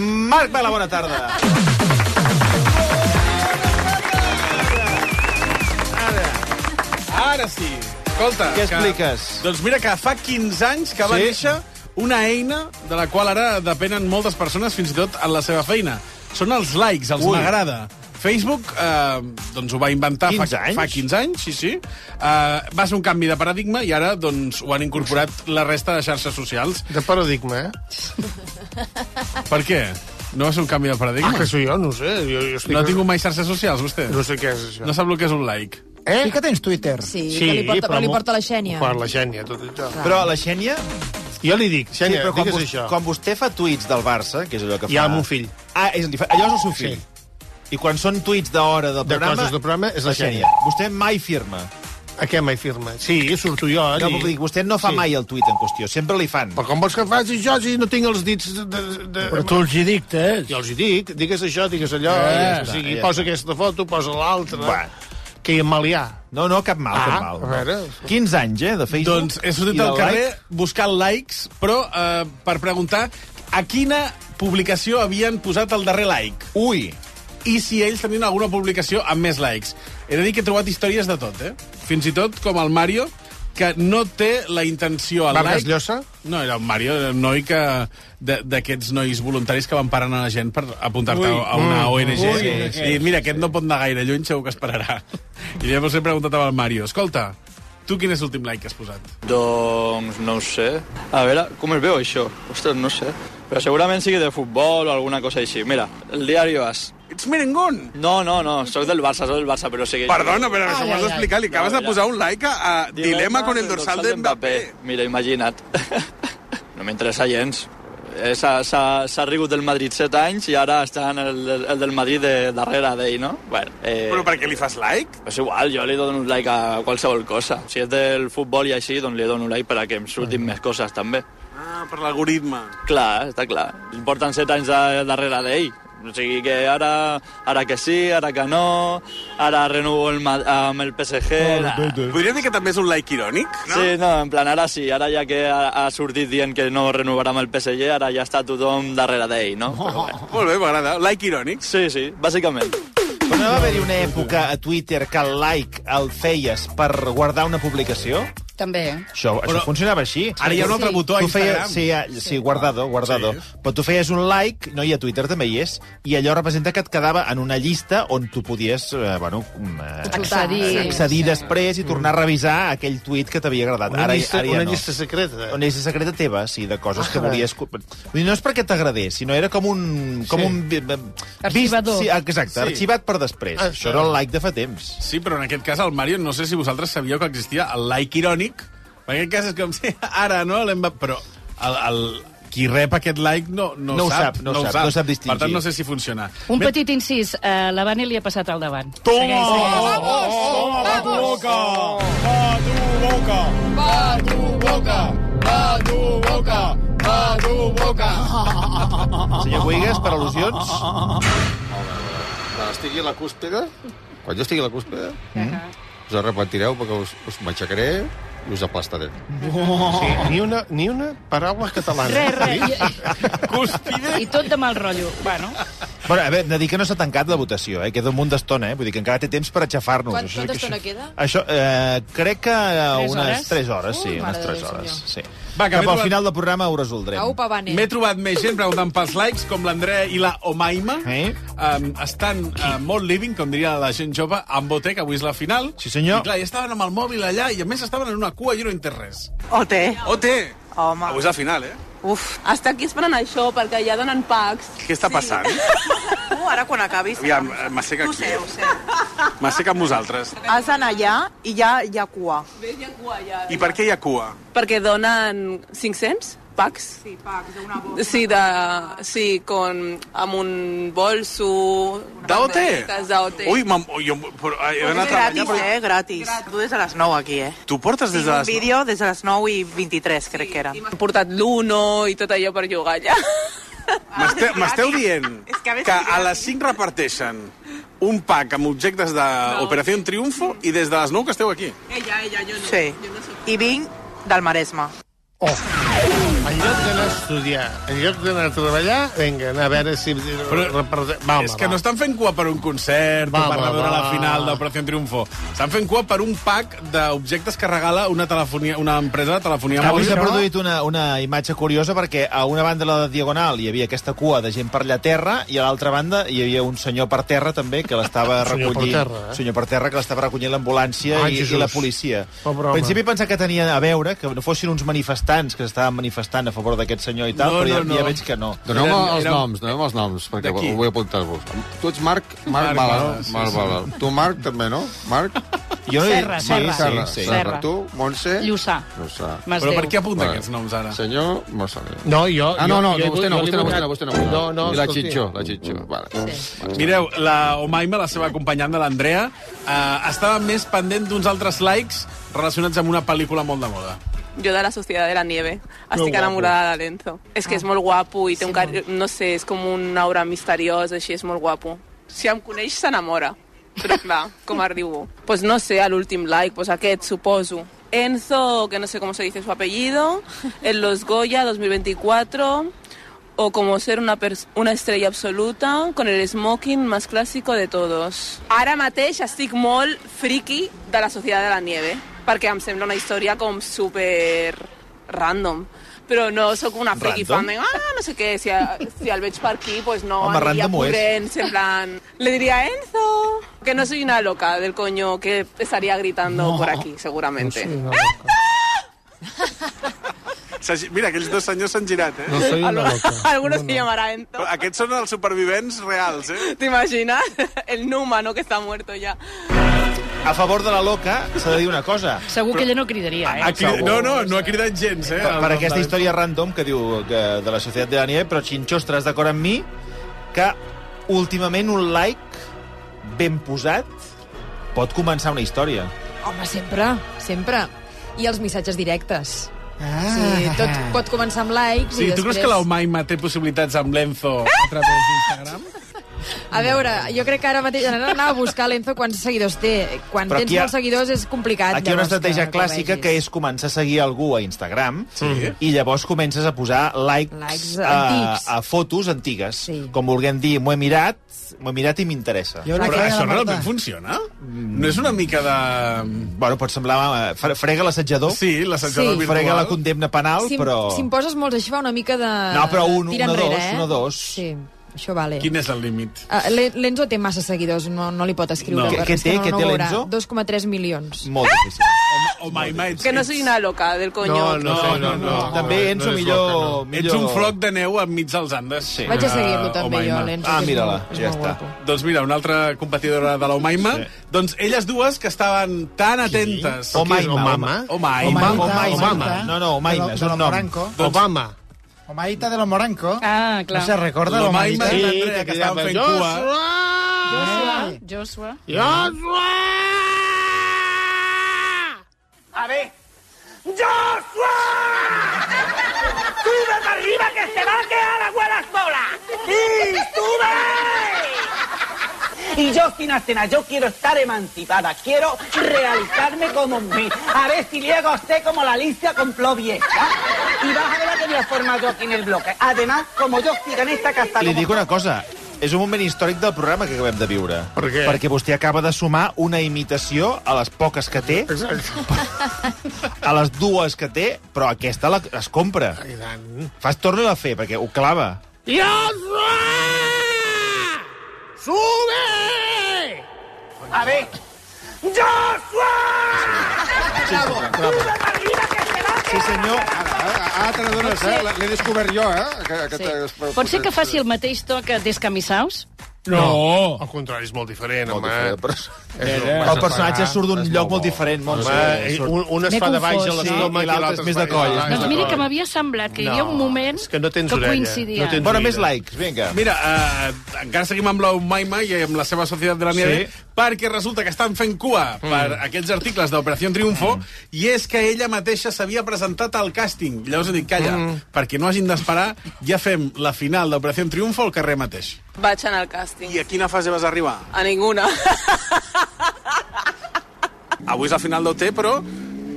Marc Bala, bona tarda. Ara, ara sí. Escolta, Què que- expliques? Doncs mira que fa 15 anys que va Sí? néixer una eina de la qual ara depenen moltes persones, fins i tot en la seva feina. Són els likes, els Ui. m'agrada. Facebook eh, doncs ho va inventar fa, 15 anys? fa 15 anys, sí, sí. Eh, va ser un canvi de paradigma i ara doncs, ho han incorporat la resta de xarxes socials. De paradigma, eh? Per què? No va ser un canvi de Ah, paradigma? que sé jo, no ho sé. Jo, jo estic... No ha tingut mai xarxes socials, vostè? No sé què és això. No sap el que és un like. Eh? Sí que tens Twitter. Sí, sí que li porta, però, li mo- porta la Xènia. Quan la Xènia, tot i tal. Però la Xènia... Jo li dic, Xènia, sí, quan, digues vos- això. quan vostè fa tuits del Barça, que és allò que fa... Hi ha un fill. Ah, és el, dife- allò és el seu fill. I quan són tuits d'hora del De programa... coses del programa és la Xènia. Vostè mai firma. A què mai firma? Sí, surto jo No, allí. vull dir, vostè no fa Sí. mai el tuit en qüestió, sempre li fan. Però com vols que faci això si no tinc els dits de... de... Però tu els hi dictes. Jo els hi dic, digues això, digues allò, Ja està, eh, o sigui, ja posa està. aquesta foto, posa l'altra... Va. Que hi ha mal hi ha. No, no, cap mal, Ah, cap mal. a veure. 15 anys, eh, de Facebook. Doncs he sortit i de al carrer like. buscant likes, però eh, per preguntar a quina publicació havien posat el darrer like Ui, i si ells tenien alguna publicació amb més likes. He de dir que he trobat històries de tot, eh? Fins i tot com el Mario, que no té la intenció al Vargas like... Llosa? No, era un Mario, era un noi que de- d'aquests nois voluntaris que van parant a la gent per apuntar-te a a una ONG. Ui, Ui, sí, I mira, aquest no pot anar gaire lluny, segur que esperarà. I llavors he preguntat al Mario, escolta, tu quin és l'últim like que has posat? Doncs no ho sé. A veure, com es veu això? Ostres, no sé. Però segurament sigui de futbol o alguna cosa així. Mira, el diari As. Ets merengón! No, no, no, sóc del Barça, sóc del Barça, però sigui... Perdona, però això m'ho has d'explicar. Li No, acabes de mira. posar un like a, a Dilema con el del dorsal de Mbappé. Mira, imagina't. no m'interessa gens. Eh, s'ha- S'ha s'ha rigut del Madrid 7 anys i ara està en el, del- el del Madrid de, darrere d'ell, no? Bueno, eh, Però per què li fas like? És igual, jo li dono un like a qualsevol cosa. Si és del futbol i així, doncs li dono un like per a que em surtin més coses, també. Ah, per l'algoritme. Clar, està clar. Porten set anys de, darrere d'ell. O sigui que ara, ara que sí, ara que no, ara renovo el, Ma- amb el PSG... Ara... Podríem dir que també és un like irònic, Sí, no, en plan, ara sí, ara ja que ha, ha sortit dient que no renovarà amb el PSG, ara ja està tothom darrere d'ell, no? Però bé. Molt bé, m'agrada. Like irònic. Sí, sí, bàsicament. Però no va haver-hi una època a Twitter que el like el feies per guardar una publicació? També. Això, això Però- funcionava així. Ara hi ha un altre Sí. botó a tu Instagram. feies, sí, ja, sí, guardado, guardado. Sí. Però tu feies un like, no hi ha Twitter, també hi és, i allò representa que et quedava en una llista on tu podies eh, bueno, eh, Accedir. accedir, accedir després i tornar a revisar aquell tuit que t'havia agradat. Una, ara, llista, ara ja una no. llista secreta. Una llista secreta teva, sí, de coses que volies... cu- Vull dir, No és perquè t'agradés, sinó era com un... Com Sí. un vi- vi- Arxivador. Sí, exacte, Sí. sí. arxivat per després. Ah, Això era el like de fa temps. Sí, però en aquest cas el Mario, no sé si vosaltres sabíeu que existia el like irònic. En aquest cas és com, sí, ara, no? l'Emba- Però el, el, qui rep aquest like no, no, No ho ho sap, sap, no ho sap, no sap distingir. Per tant, no sé si funciona. Un petit incís, eh, la Vani li ha passat al davant. Toma! Segueix, segueix. Oh, oh, oh, toma, va tu boca! Va tu boca! Va tu boca, va tu boca, va tu boca. Senyor Buigas, per al·lusions? Quan estigui a la cúspide, quan jo estigui a la cúspide, Mm. us arrepentireu perquè us, us m'aixecaré i us aplastaré. Oh. oh. Sí, ni, una, ni una paraula catalana. Re, re, Cúspide! i, i tot de mal rotllo. Bueno, Bueno, a veure, hem de dir que no s'ha tancat la votació, eh? Queda un munt d'estona, eh? Vull dir que encara té temps per aixafar-nos. Quant- Això- quanta això- estona queda? Això, eh, crec que Tres unes hores? 3 hores, sí, Ui, mare unes de 3 Déu, hores. senyor. Sí. Va, que m'he Cap al trobat- final del programa ho resoldrem. Aupa, Eh. Vane. M'he trobat més gent preguntant pels likes, com l'Andrea i la Omaima. Eh? Um, estan uh, molt living, com diria la gent jove, amb Botec, avui és la final. Sí, senyor. I clar, i estaven amb el mòbil allà, i a més estaven en una cua, jo no he entès res. O té. OT! Home. Avui és la final, eh? Uf. Està aquí esperant això, perquè ja donen packs. Què està passant? Tu, ara quan acabis... Aviam, m'asseca Tu aquí. sé, ho sé. M'assec amb vosaltres. Has d'anar allà i ja hi ha cua. Ves, hi ha cua, ja. I per què hi ha cua? Perquè donen 500 packs. Sí, packs, d'una bossa. Sí, de, sí con, amb un bolso... D'OT? banderetes D'OT. Ui, mam, jo, però, eh, he d'anar a treballar... Però... eh? Gratis. gratis. Tu des de les 9 aquí, eh? Tu portes des de les... des de les 9 i 23, crec que era. Hem portat l'Uno i tot allò per jugar allà. M'este- M'esteu dient És que a que, veces a gratis. les 5 reparteixen un pack amb objectes d'Operació no. Triunfo i des de les 9 que esteu aquí. Ella, ella, jo no. Sí. I vinc del Maresme. Oh. En lloc d'anar a estudiar, en lloc d'anar a treballar, vinga, anar a veure si... Però, va, és que no estan fent cua per un concert Va, o per va, anar a veure va. la final d'Operació Triunfo. Estan fent cua per un pack d'objectes que regala una, telefonia, una empresa de telefonia Avui mòbil. s'ha produït una, una imatge curiosa perquè a una banda de la Diagonal hi havia aquesta cua de gent per allà a terra i a l'altra banda hi havia un senyor per terra també que l'estava Senyor per recollint. terra, eh? senyor per terra, que l'estava recollint l'ambulància Ai, i, Jesús. i la policia. Pobre Al home. principi pensava que tenia a veure, que no fossin uns manifestants que s'estaven manifestant a favor d'aquest senyor i tal, No, però ja, no, no. ja veig que no. Doneu-me Eren- els eren- noms, doneu-me els noms, perquè De qui? ho vull apuntar-vos. Tu ets Marc, Marc, Marc Bala. Bala, sí, Marc sí. Bala. Tu, Marc, també, no? Marc? Jo no Serra, sí, Serra. Serra, Sí, sí. Serra. Serra. Tu, Montse? Lluçà. No ho sé. Masdeu. Però per què apunta Vale. aquests noms ara? Senyor Mossade. No, jo... Ah, no, no, jo, no, vostè no, jo li vostè no, vull- vostè no, vostè no. vostè No, no, I la escolti. Xitxó, la Xitxó. Vale. Sí. Mireu, la Omaima, la seva acompanyant de l'Andrea, eh, estava més pendent d'uns altres likes relacionats amb una pel·lícula molt de moda. Jo de la Sociedad de la Nieve. Estic enamorada de l'Enzo. És que és molt guapo i té un car... No sé, és com una aura misteriosa, així, és molt guapo. Si em coneix, s'enamora. Però clar, com arribo? Pues no sé, a l'últim like, pues aquest, suposo. Enzo, que no sé com se dice su apellido, en los Goya 2024, o como ser una, pers- una estrella absoluta con el smoking más clásico de todos. Ara mateix estic molt friki de la Societat de la Nieve, perquè em sembla una història com super random. Però no sóc una friki Random? fan de, ah, no sé què, si, a- si el veig per aquí, pues no, Home, aniria random ho és. corrents, en plan... Le diría, Enzo, que no soy una loca del coño que estaría gritando por aquí, seguramente. Mira, aquells dos senyors s'han girat, eh? No soy una loca. Algunos se llamará Enzo. Aquests són els supervivents reals, eh? ¿Te imaginas? El Numa, ¿no? Que está muerto ya. A favor de la loca s'ha de dir una cosa. Segur que ella no cridaria, eh? Ha cridat, no, no, no ha cridat gens, eh? per, per El- aquesta el- història random que diu que, de la Societat de la Nieve, però Xinxó, estaràs d'acord amb mi que últimament un like ben posat pot començar una història. Ah, Home, sempre, sempre. I els missatges directes. Ah. Sí, tot pot començar amb likes Sí, i tu després... creus que la Omaima té possibilitats amb l'Enzo a través d'Instagram? A veure, jo crec que ara mateix anava a buscar l'Enzo quants seguidors té. Quan Però Però tens aquí hi ha- molts seguidors és complicat. Aquí hi ha una llavors, estratègia que- clàssica ho que vegis. és començar a seguir algú a Instagram sí. i llavors comences a posar likes, Likes a, antics. a fotos antigues. Sí. Com volguem dir, m'ho he mirat, m'ho he mirat i m'interessa. Jo crec Però que això la Marta... realment funciona? No és una mica de... Bueno, pot semblar... eh, fre- Frega l'assetjador, sí. Sí, l'assetjador Sí. virtual. frega la condemna penal, Si, però... si em poses molts així fa una mica de... Oh. No, però un- tira un o enrere, dos, eh? un o dos. Sí, això vale. Quin és el límit? Ah, l'E- L'Enzo té massa seguidors, no, no li pot escriure. No. perquè Què- és què té? no- Què no té ho veurà. l'Enzo? 2,3 milions. Molt difícil. Omaima, ets... Que no soy una loca del coño. No, no, no, no, no. També no Enzo, és millor... loca, no. millor... Ets un floc de neu enmig dels Andes. Sí. Vaig a seguir-lo Ah, també jo, Omaima. l'Enzo. Ah, que és mira-la, molt- és ja molt està. guapo. Doncs mira, una altra competidora de la Omaima. Sí. Doncs elles dues que estaven tan atentes... Omaima, Qui és, Obama? Omaima. Omaima. Obama. Obama. No, no, Omaima, De és lo- un de lo nom. Moranco. Doncs Obama. Omaita de los Moranco. Ah, No clar. se recorda de L'Omaima l'Omaita. i Sí, l'Andrea, que que estaven fent cridava, cua. Joshua, Ah, Ah, Joshua. Joshua! Y yo, Sinastena, yo quiero estar emancipada, quiero realizarme como mujer. A ver si llega a usted como la Alicia con vieja. Y vas a ver la que me ha formado yo aquí en el bloque. Además, como yo siga en esta casa... Li como- dic una cosa, és un moment històric del programa que acabem de viure. Per què? Perquè vostè acaba de sumar una imitació a les poques que té, Exacte. a les dues que té, però aquesta la, es compra. I tant. Fas torno a fer, perquè ho clava. Joshua! Sube! A ver... ¡Joshua! Sí, senyor. Ara, ara te n'adones, eh? L'he descobert jo, eh? Que, que Sí. Pot ser que faci el mateix to que Descamissaus? Oh. No. Al contrari, és molt diferent, Molt home. eh? diferent, però... El personatge surt d'un és lloc molt molt bo. diferent. Molt Home, sí, surt. eh, un, un es M'he fa de baix a confós, l'estómac sí, i i l'altre l'altre és més de coll. fa- Doncs mira que coll. m'havia semblat que hi havia No, un moment és que no tens que eh? orella, coincidia. no tens- Bueno, més likes, vinga. Mira, eh, encara seguim amb la Omaima i amb la seva Societat de la Nieve, Sí. sí. perquè resulta que estan fent cua mm. per aquests articles d'Operació Triunfo, mm. i és que ella mateixa s'havia presentat al càsting. Llavors he dit, calla, mm. perquè no hagin d'esperar, ja fem la final d'Operació Triunfo al carrer mateix. Vaig anar al càsting. a quina fase vas arribar? A ninguna. Avui és la final d'OT, però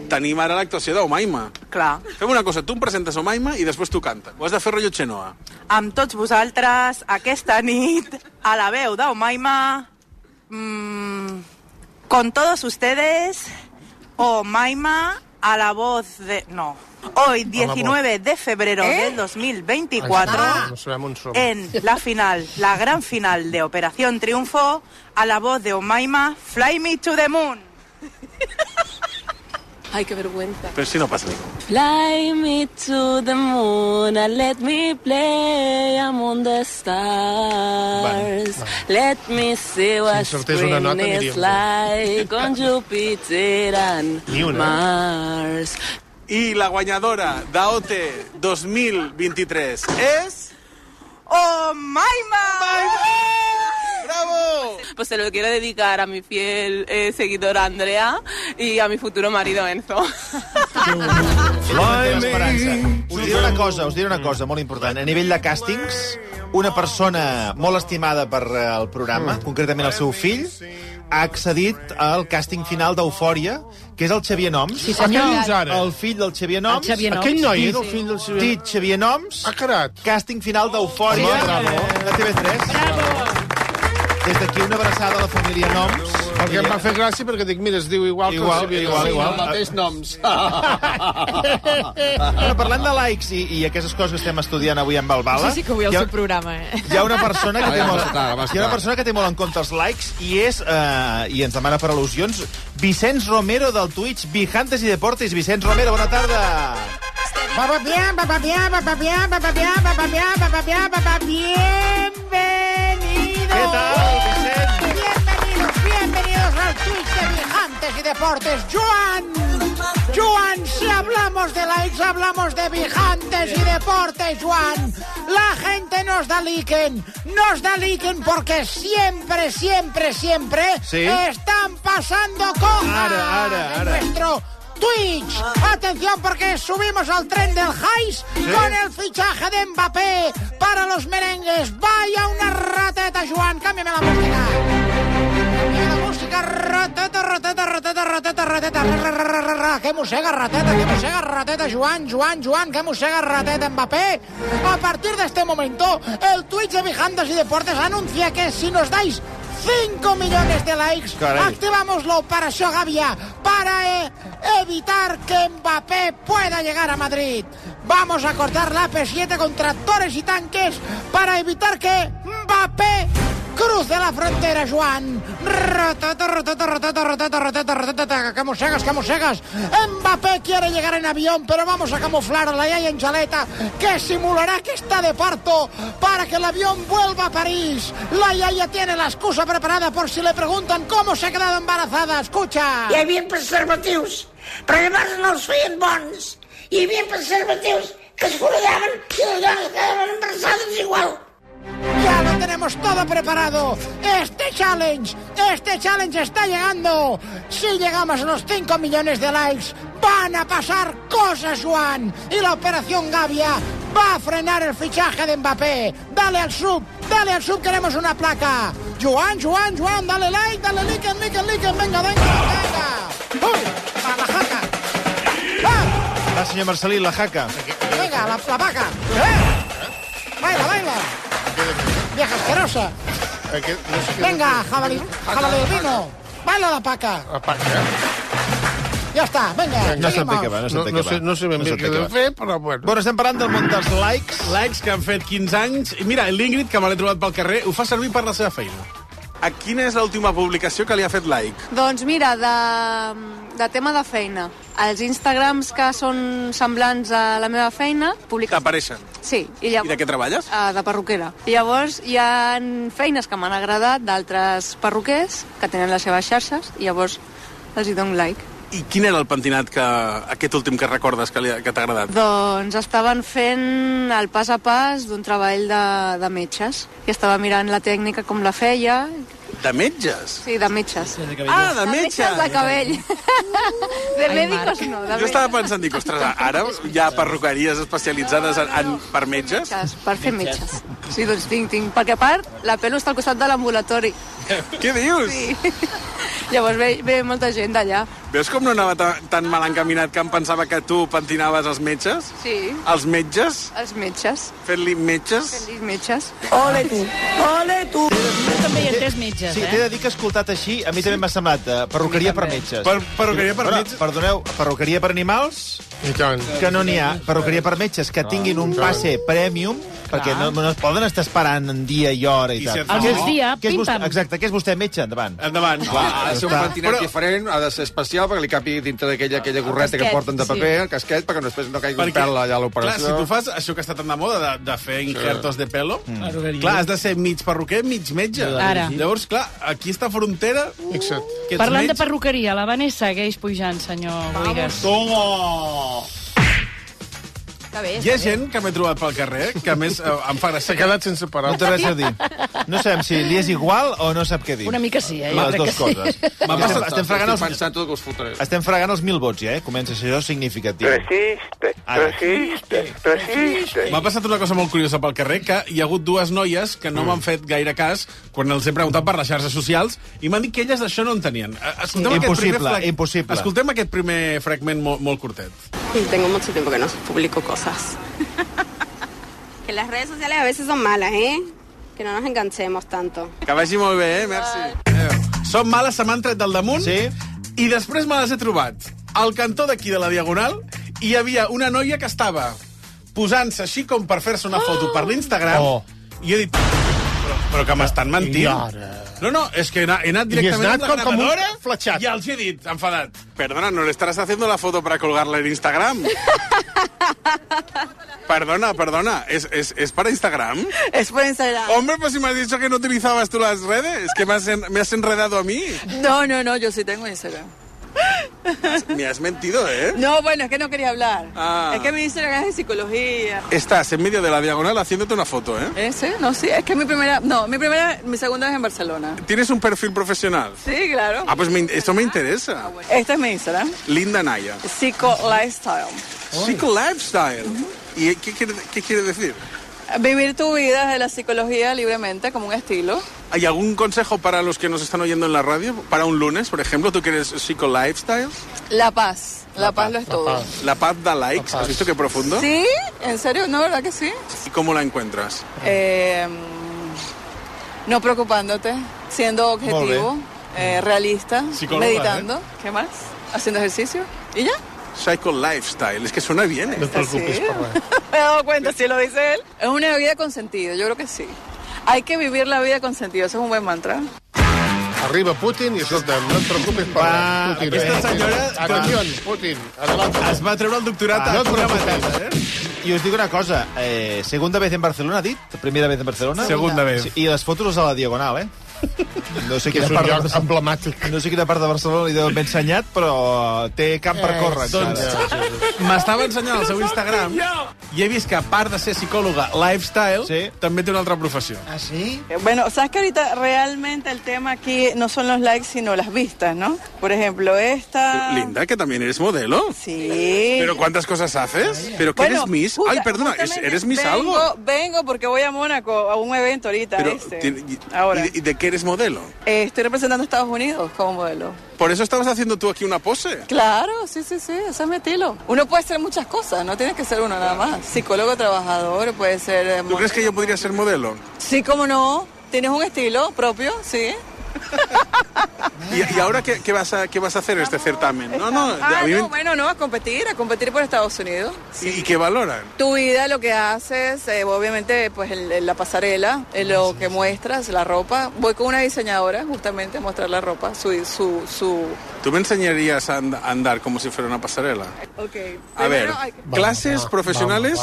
tenim ara l'actuació d'Omaima. Clar. Fem una cosa, tu em presentes Omaima i després tu canta. Ho has de fer rotllo Chenoa. Amb tots vosaltres, aquesta nit, a la veu d'Omaima, mm, con todos ustedes, Omaima a la voz de... No. Hoy, A la voz. 19 de febrero ¿Eh? del 2024, No serem un som. en la final, la gran final de Operación Triunfo, a la voz de Omaima, Fly Me to the Moon. Ay, qué vergüenza. Però si no passa ningú. Fly me to the moon and let me play among the stars. Let me see what Si insertés una spring ¿eh? nota, is diríem. like on Jupiter and Ni ¿eh? una. Mars. I la guanyadora d'AOT 2023 és... ¡Oh, Maima! ¡Bravo! Pues se lo quiero dedicar a mi fiel eh, seguidora Andrea y a mi futuro marido Enzo. Fly me. Us diré una cosa, us diré una cosa molt important. A nivell de càstings, una persona molt estimada per eh, el programa, Mm. concretament el seu fill, ha accedit al càsting final d'Eufòria, que és el Xavier Noms. Sí, senyor. Què dius ara? El fill del Xavier Noms. El Xavier Noms. Aquell noi era el fill del Xavier Noms. Dit Xavier Noms. Ha quedat. Càsting final d'Eufòria. De TV3. Des d'aquí una abraçada a la família Noms. El que em va fer gràcia perquè dic, mira, es diu igual, Igual, que el igual, igual. noms. Eh. Bueno, parlant de likes i, i aquestes coses que estem estudiant avui amb el Bala... Sí, sí que avui el hi ha- seu programa, eh? Hi ha una persona que Ah, té ja molt, vas tard, vas hi ha una tard. persona que té molt en compte els likes i és eh, i ens demana per al·lusions Vicenç Romero del Twitch Vijantes i Deportes. Vicenç Romero, bona tarda. Papá bien, papá bien, papá bien, papá bien, papá bien, papá bien, papá bien. Bienvenido. ¿Qué tal, Vicente? Bienvenidos, bienvenidos al Twitch de Vijantes y Deportes. Joan, Joan, si hablamos de likes, hablamos de Vijantes y Deportes, Joan. La gente nos da liken, nos da liken porque siempre, siempre, siempre Sí. están pasando con Ara, ara, ara. nuestro Twitch. Atención porque subimos al tren del Hais con el fichaje de Mbappé para los merengues. Vaya una rateta, Joan. Cámbiame la música. Cámbiame la música. Rateta, rateta, rateta, rateta, rateta. Ra, ra, ra, ra, ra, ra. Que mossega rateta, que mossega rateta, Joan, Joan, Joan, que mossega rateta Mbappé. A partir de este momento, el Twitch de Vijandas y Deportes anuncia que si nos dais 5 millones de likes, Caray. Activamos la operación Gavia para eh, evitar que Mbappé pueda llegar a Madrid. Vamos a cortar la P7 con tractores y tanques para evitar que Mbappé cruce la frontera, Juan. Ratata, ratata, ratata, ratata, ratata, ratata, Camusegas, camusegas. Mbappé quiere llegar en avión, pero vamos a camuflarla y hay en chaleta que simulará que está de parto para que el avión vuelva a París. La Yaya tiene la excusa preparada por si le preguntan cómo se ha quedado embarazada. Escucha. Hi havia preservatius, però llavors no els feien bons. Hi havia preservatius que es forallaven i les dones quedaven embarassades igual. Ya lo tenemos todo preparado. Este challenge, este challenge está llegando. Si llegamos a los 5 millones de likes, van a pasar cosas, Juan. Y la operación Gavia va a frenar el fichaje de Mbappé. Dale al sub, dale al sub, queremos una placa. Juan, Juan, Juan, dale like, dale like, like, like, venga, venga, venga. ¡Uh! A la jaca. ¡Ah! Va, senyor Marcelí, la jaca. Venga, la, la vaca. ¡Eh! Baila, baila. Vieja asquerosa. Aquest, no sé què- Venga, jabalí, jabalí vino. Baila la paca. La paca. Ya está, venga. No se'n seguimos. té que va, no se'n eh? No- té que no va. sé- no sé ben bé se'n té què que deu va. fer, però bueno. Bueno, estem parlant del món dels likes. Likes que han fet 15 anys. I mira, l'Ingrid, que me l'he trobat pel carrer, ho fa servir per la seva feina. A quina és l'última publicació que li ha fet like? Doncs mira, de, de tema de feina. Els Instagrams que són semblants a la meva feina, publica... T'apareixen. Sí. I, I de què treballes? Uh, de perruquera. I llavors hi ha feines que m'han agradat d'altres perruquers que tenen les seves xarxes i llavors els hi dono like. I quin era el pentinat que... aquest últim que recordes que, li, ha- que t'ha agradat? Doncs estaven fent el pas a pas d'un treball de, de metges i estava mirant la tècnica com la feia. De metges? Sí, de metges. Ah, de metges! de cabell. De Ai, médicos no, Jo de metges. estava pensant, dic, ostres, ara hi ha perruqueries especialitzades en, en, per metges? metges, per fer metges. Sí, doncs tinc, tinc. Perquè a part, la pelo està al costat de l'ambulatori. Què dius? Sí. Llavors ve, ve molta gent d'allà. Veus com no anava ta- tan mal encaminat que em pensava que tu pentinaves els metges? Sí. Els metges? Els metges. Fent-li metges? Els metges. Ole tu, ole tu. Jo també hi he entès metges, eh? Sí, t'he de dir que escoltat així, a mi també m'ha semblat uh, perruqueria per metges. Per- perruqueria per Però, metges. Perdoneu, perruqueria per animals? I tant. Que no n'hi ha. Perruqueria per metges, que tinguin un passe premium, perquè no, no es poden estar esperant en dia i hora i, I si tal. et fa Al mal? migdia, què és vostè, pim-pam. Exacte, que és vostè metge, endavant. Endavant. Clar, ha de ser un Està. pentinat Però- diferent, ha de ser especial perquè li capi dintre d'aquella aquella gorreta casquet, que porten de sí. paper, el casquet, perquè després no caigui un pèl allà a l'operació. Clar, si tu fas això que està tan de moda, de, de fer injertos de pelo, Mm. Perruqueria. clar, has de ser mig perruquer, mig metge. Ara. Llavors, clar, aquí està frontera... Uh. Fixa't. eh? Parlant de perruqueria, la Vanessa segueix pujant, senyor Boigas. Toma! Està bé, Hi ha gent que m'he trobat pel carrer, que a més eh, em fa gràcia... S'ha quedat sense No té res a dir. No sabem si li és igual o no sap què dir. Una mica sí, eh? Les dues que coses. M'ha Estem- passat, estem fregant els... pensant tot el que us fotré. Estem fregant els mil vots, ja, eh? Comença a ser això significatiu. Resiste, Ara. resiste, resiste. M'ha passat una cosa molt curiosa pel carrer, que hi ha hagut dues noies que Mm. no m'han fet gaire cas quan els he preguntat per les xarxes socials i m'han dit que elles d'això no en tenien. Eh, Escoltem aquest primer Impossible, frag- impossible. Escoltem aquest primer fragment molt, molt curtet. Tengo mucho tiempo que no publico cosas. Que las redes sociales a veces son malas, ¿eh? Que no nos enganchemos tanto. Que vagi molt bé, eh? Merci. Adéu. Som males, se m'han tret del damunt sí. i després me les he trobat al cantó d'aquí de la Diagonal i hi havia una noia que estava posant-se així com per fer-se una foto per l'Instagram Oh. i he dit... Però, però que m'estan mentint. I ara? No, no, és que he anat he anat I has directament anat amb la com- com un gravadora i els he dit, enfadat, perdona, no le estarás haciendo la foto para colgarla en Instagram? perdona, perdona, ¿es, es, es para Instagram? Es por Instagram. Hombre, pues si me has dicho que no utilizabas tú las redes, que me has, en- me has enredado a mí. No, no, no, yo sí tengo Instagram. Me has mentido, ¿eh? No, bueno, es que no quería hablar. Ah. Es que mi Instagram es de psicología. Estás en medio de la diagonal haciéndote una foto, ¿eh? ¿Ese? No, sí, es que mi primera, no, mi primera, mi segunda es en Barcelona. ¿Tienes un perfil profesional? Sí, claro. Ah, pues me in- esto me interesa. Este es mi Instagram. Linda Naya. Psico Lifestyle. Psico Lifestyle. ¿Y qué quiere, qué quiere decir? Vivir tu vida de la psicología libremente como un estilo. ¿Hay algún consejo para los que nos están oyendo en la radio? Para un lunes, por ejemplo, tú que eres Psico Lifestyle. La paz. La, paz, lo es todo. La paz da likes. ¿Has visto qué profundo? ¿Sí? ¿En serio? No, ¿verdad que sí? ¿Y cómo la encuentras? Eh, no preocupándote, siendo objetivo, eh, realista, Psicóloga, meditando. ¿Qué más? Haciendo ejercicio. ¿Y ya? Psycho Lifestyle. Es que suena bien. ¿eh? No te preocupes, Me he dado cuenta, si lo dice él. Es una vida con sentido, yo creo que sí. Hay que vivir la vida con sentido, ese es un buen mantra. Arriba Putin i, escolta, no et preocupis per Va, Putin. eh? aquesta senyora- Atenció, Putin. Adelante. Es va treure el doctorat Ah, a no et una preocupis. mateixa, eh? I us dic una cosa, eh, segunda vez en Barcelona, ha dit? Primera vez en Barcelona? Segunda vez. Sí, I les fotos a la Diagonal, eh? No sé quina És un part lloc emblemàtic. No sé quina part de Barcelona li deuen ben ensenyat, però té camp per córrer. Doncs encara. m'estava ensenyant el seu Instagram i he vist que a part de ser psicòloga lifestyle, sí. també té una altra professió. ¿Ah, sí? Bueno, sabes que ahorita realmente el tema aquí no son los likes, sino las vistas, ¿no? Por ejemplo, esta... Linda, que también eres modelo. Sí. ¿Pero cuántas cosas haces? ¿Pero que Bueno, eres Miss? justa- Ay, perdona, ¿es- justamente ¿eres Miss vengo, algo? Vengo porque voy a Mónaco a un evento ahorita. Pero, este. tiene- y, Ahora. ¿y de, y de qué eres modelo? Eh, estoy representando a Estados Unidos como modelo. ¿Por eso estabas haciendo tú aquí una pose? Claro, sí, sí, sí, ese es mi estilo. Uno puede ser muchas cosas, no tienes que ser uno nada más. Psicólogo, trabajador, puede ser... eh, ¿Tú crees que yo podría ser modelo? Sí, cómo no. Tienes un estilo propio, sí. ¿Y, y ahora qué, qué vas a, qué vas a hacer en este certamen? No, no, Ah, a mí me- no, bueno, no, a competir, a competir por Estados Unidos. ¿Y, y qué valoran? Tu vida, lo que haces, eh, obviamente, pues el- el- la pasarela, eh, lo que muestras, la ropa. Voy con una diseñadora justamente a mostrar la ropa, su... su, su... ¿Tú me enseñarías a and- a andar como si fuera una pasarela? Ok. A ver, Primero hay que- clases profesionales...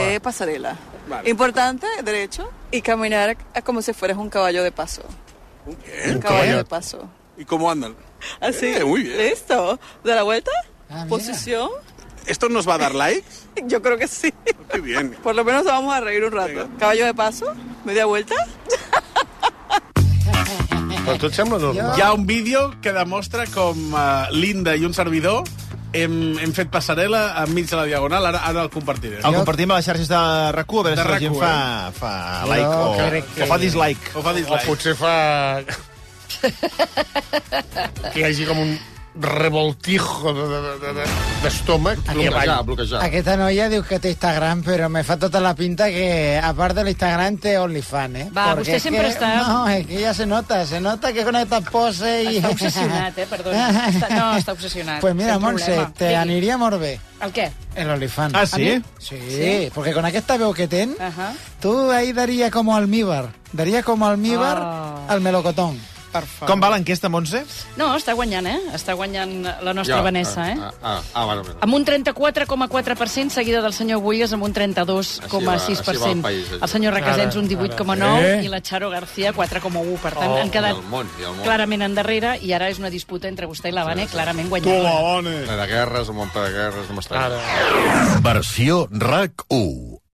de pasarela. Importante, derecho, y caminar a- como si fueras un caballo de paso. Un caballo de paso. ¿Y cómo andan? Así. Eh, muy bien. Listo. ¿De la vuelta? Posición. ¿Esto nos va a dar likes? Yo creo que sí. Qué bien. Por lo menos vamos a reír un rato. Caballo de paso, media vuelta. Però tot sembla normal. Hi ha un vídeo que demostra com uh, Linda i un servidor hem, hem fet passarel·la enmig de la Diagonal. Ara, ara el compartiré. El compartim a les xarxes de RAC1, a veure De si la gent RAC1, fa, eh? fa Jo like o, crec que- o fa dislike. O fa dislike. O potser fa... que hi hagi com un revoltijo de- de- de- de- d'estómac. De, Bloquejar, bloquejar. Aquesta noia diu que té Instagram, però me fa tota la pinta que, a part de l'Instagram, té OnlyFans, eh? Va, Porque vostè es sempre que- està- No, es que ya se nota, se nota que con esta pose y... Està obsessionat, eh? Perdona. Està, no, està obsessionat. Pues mira, Té un Montse, problema. te Digui. aniria molt bé El què? el OnlyFans. Ah, sí? A mi? Sí, Sí? porque con aquesta veu que ten, Ajá. tú ahí daría como almíbar. Daría como almíbar Oh. al melocotón. Com va l'enquesta, Montse? No, està guanyant, eh? Està guanyant la nostra Ja, ja, Vanessa, eh? Ah, ah, ah bueno, bueno. Amb un 34,4%, seguida del senyor Bulles amb un 32,6%. Així va- així va el país, això. el senyor Requesens un Ara, ara. 18,9% Eh? i la Charo García 4,1%. Per tant, Oh, han quedat I el món, i el món. clarament endarrere i ara és una disputa entre vostè i la Vane, clarament la guanyadora. bona. La de guerres, el món de guerres, no m'està. Versió RAC 1.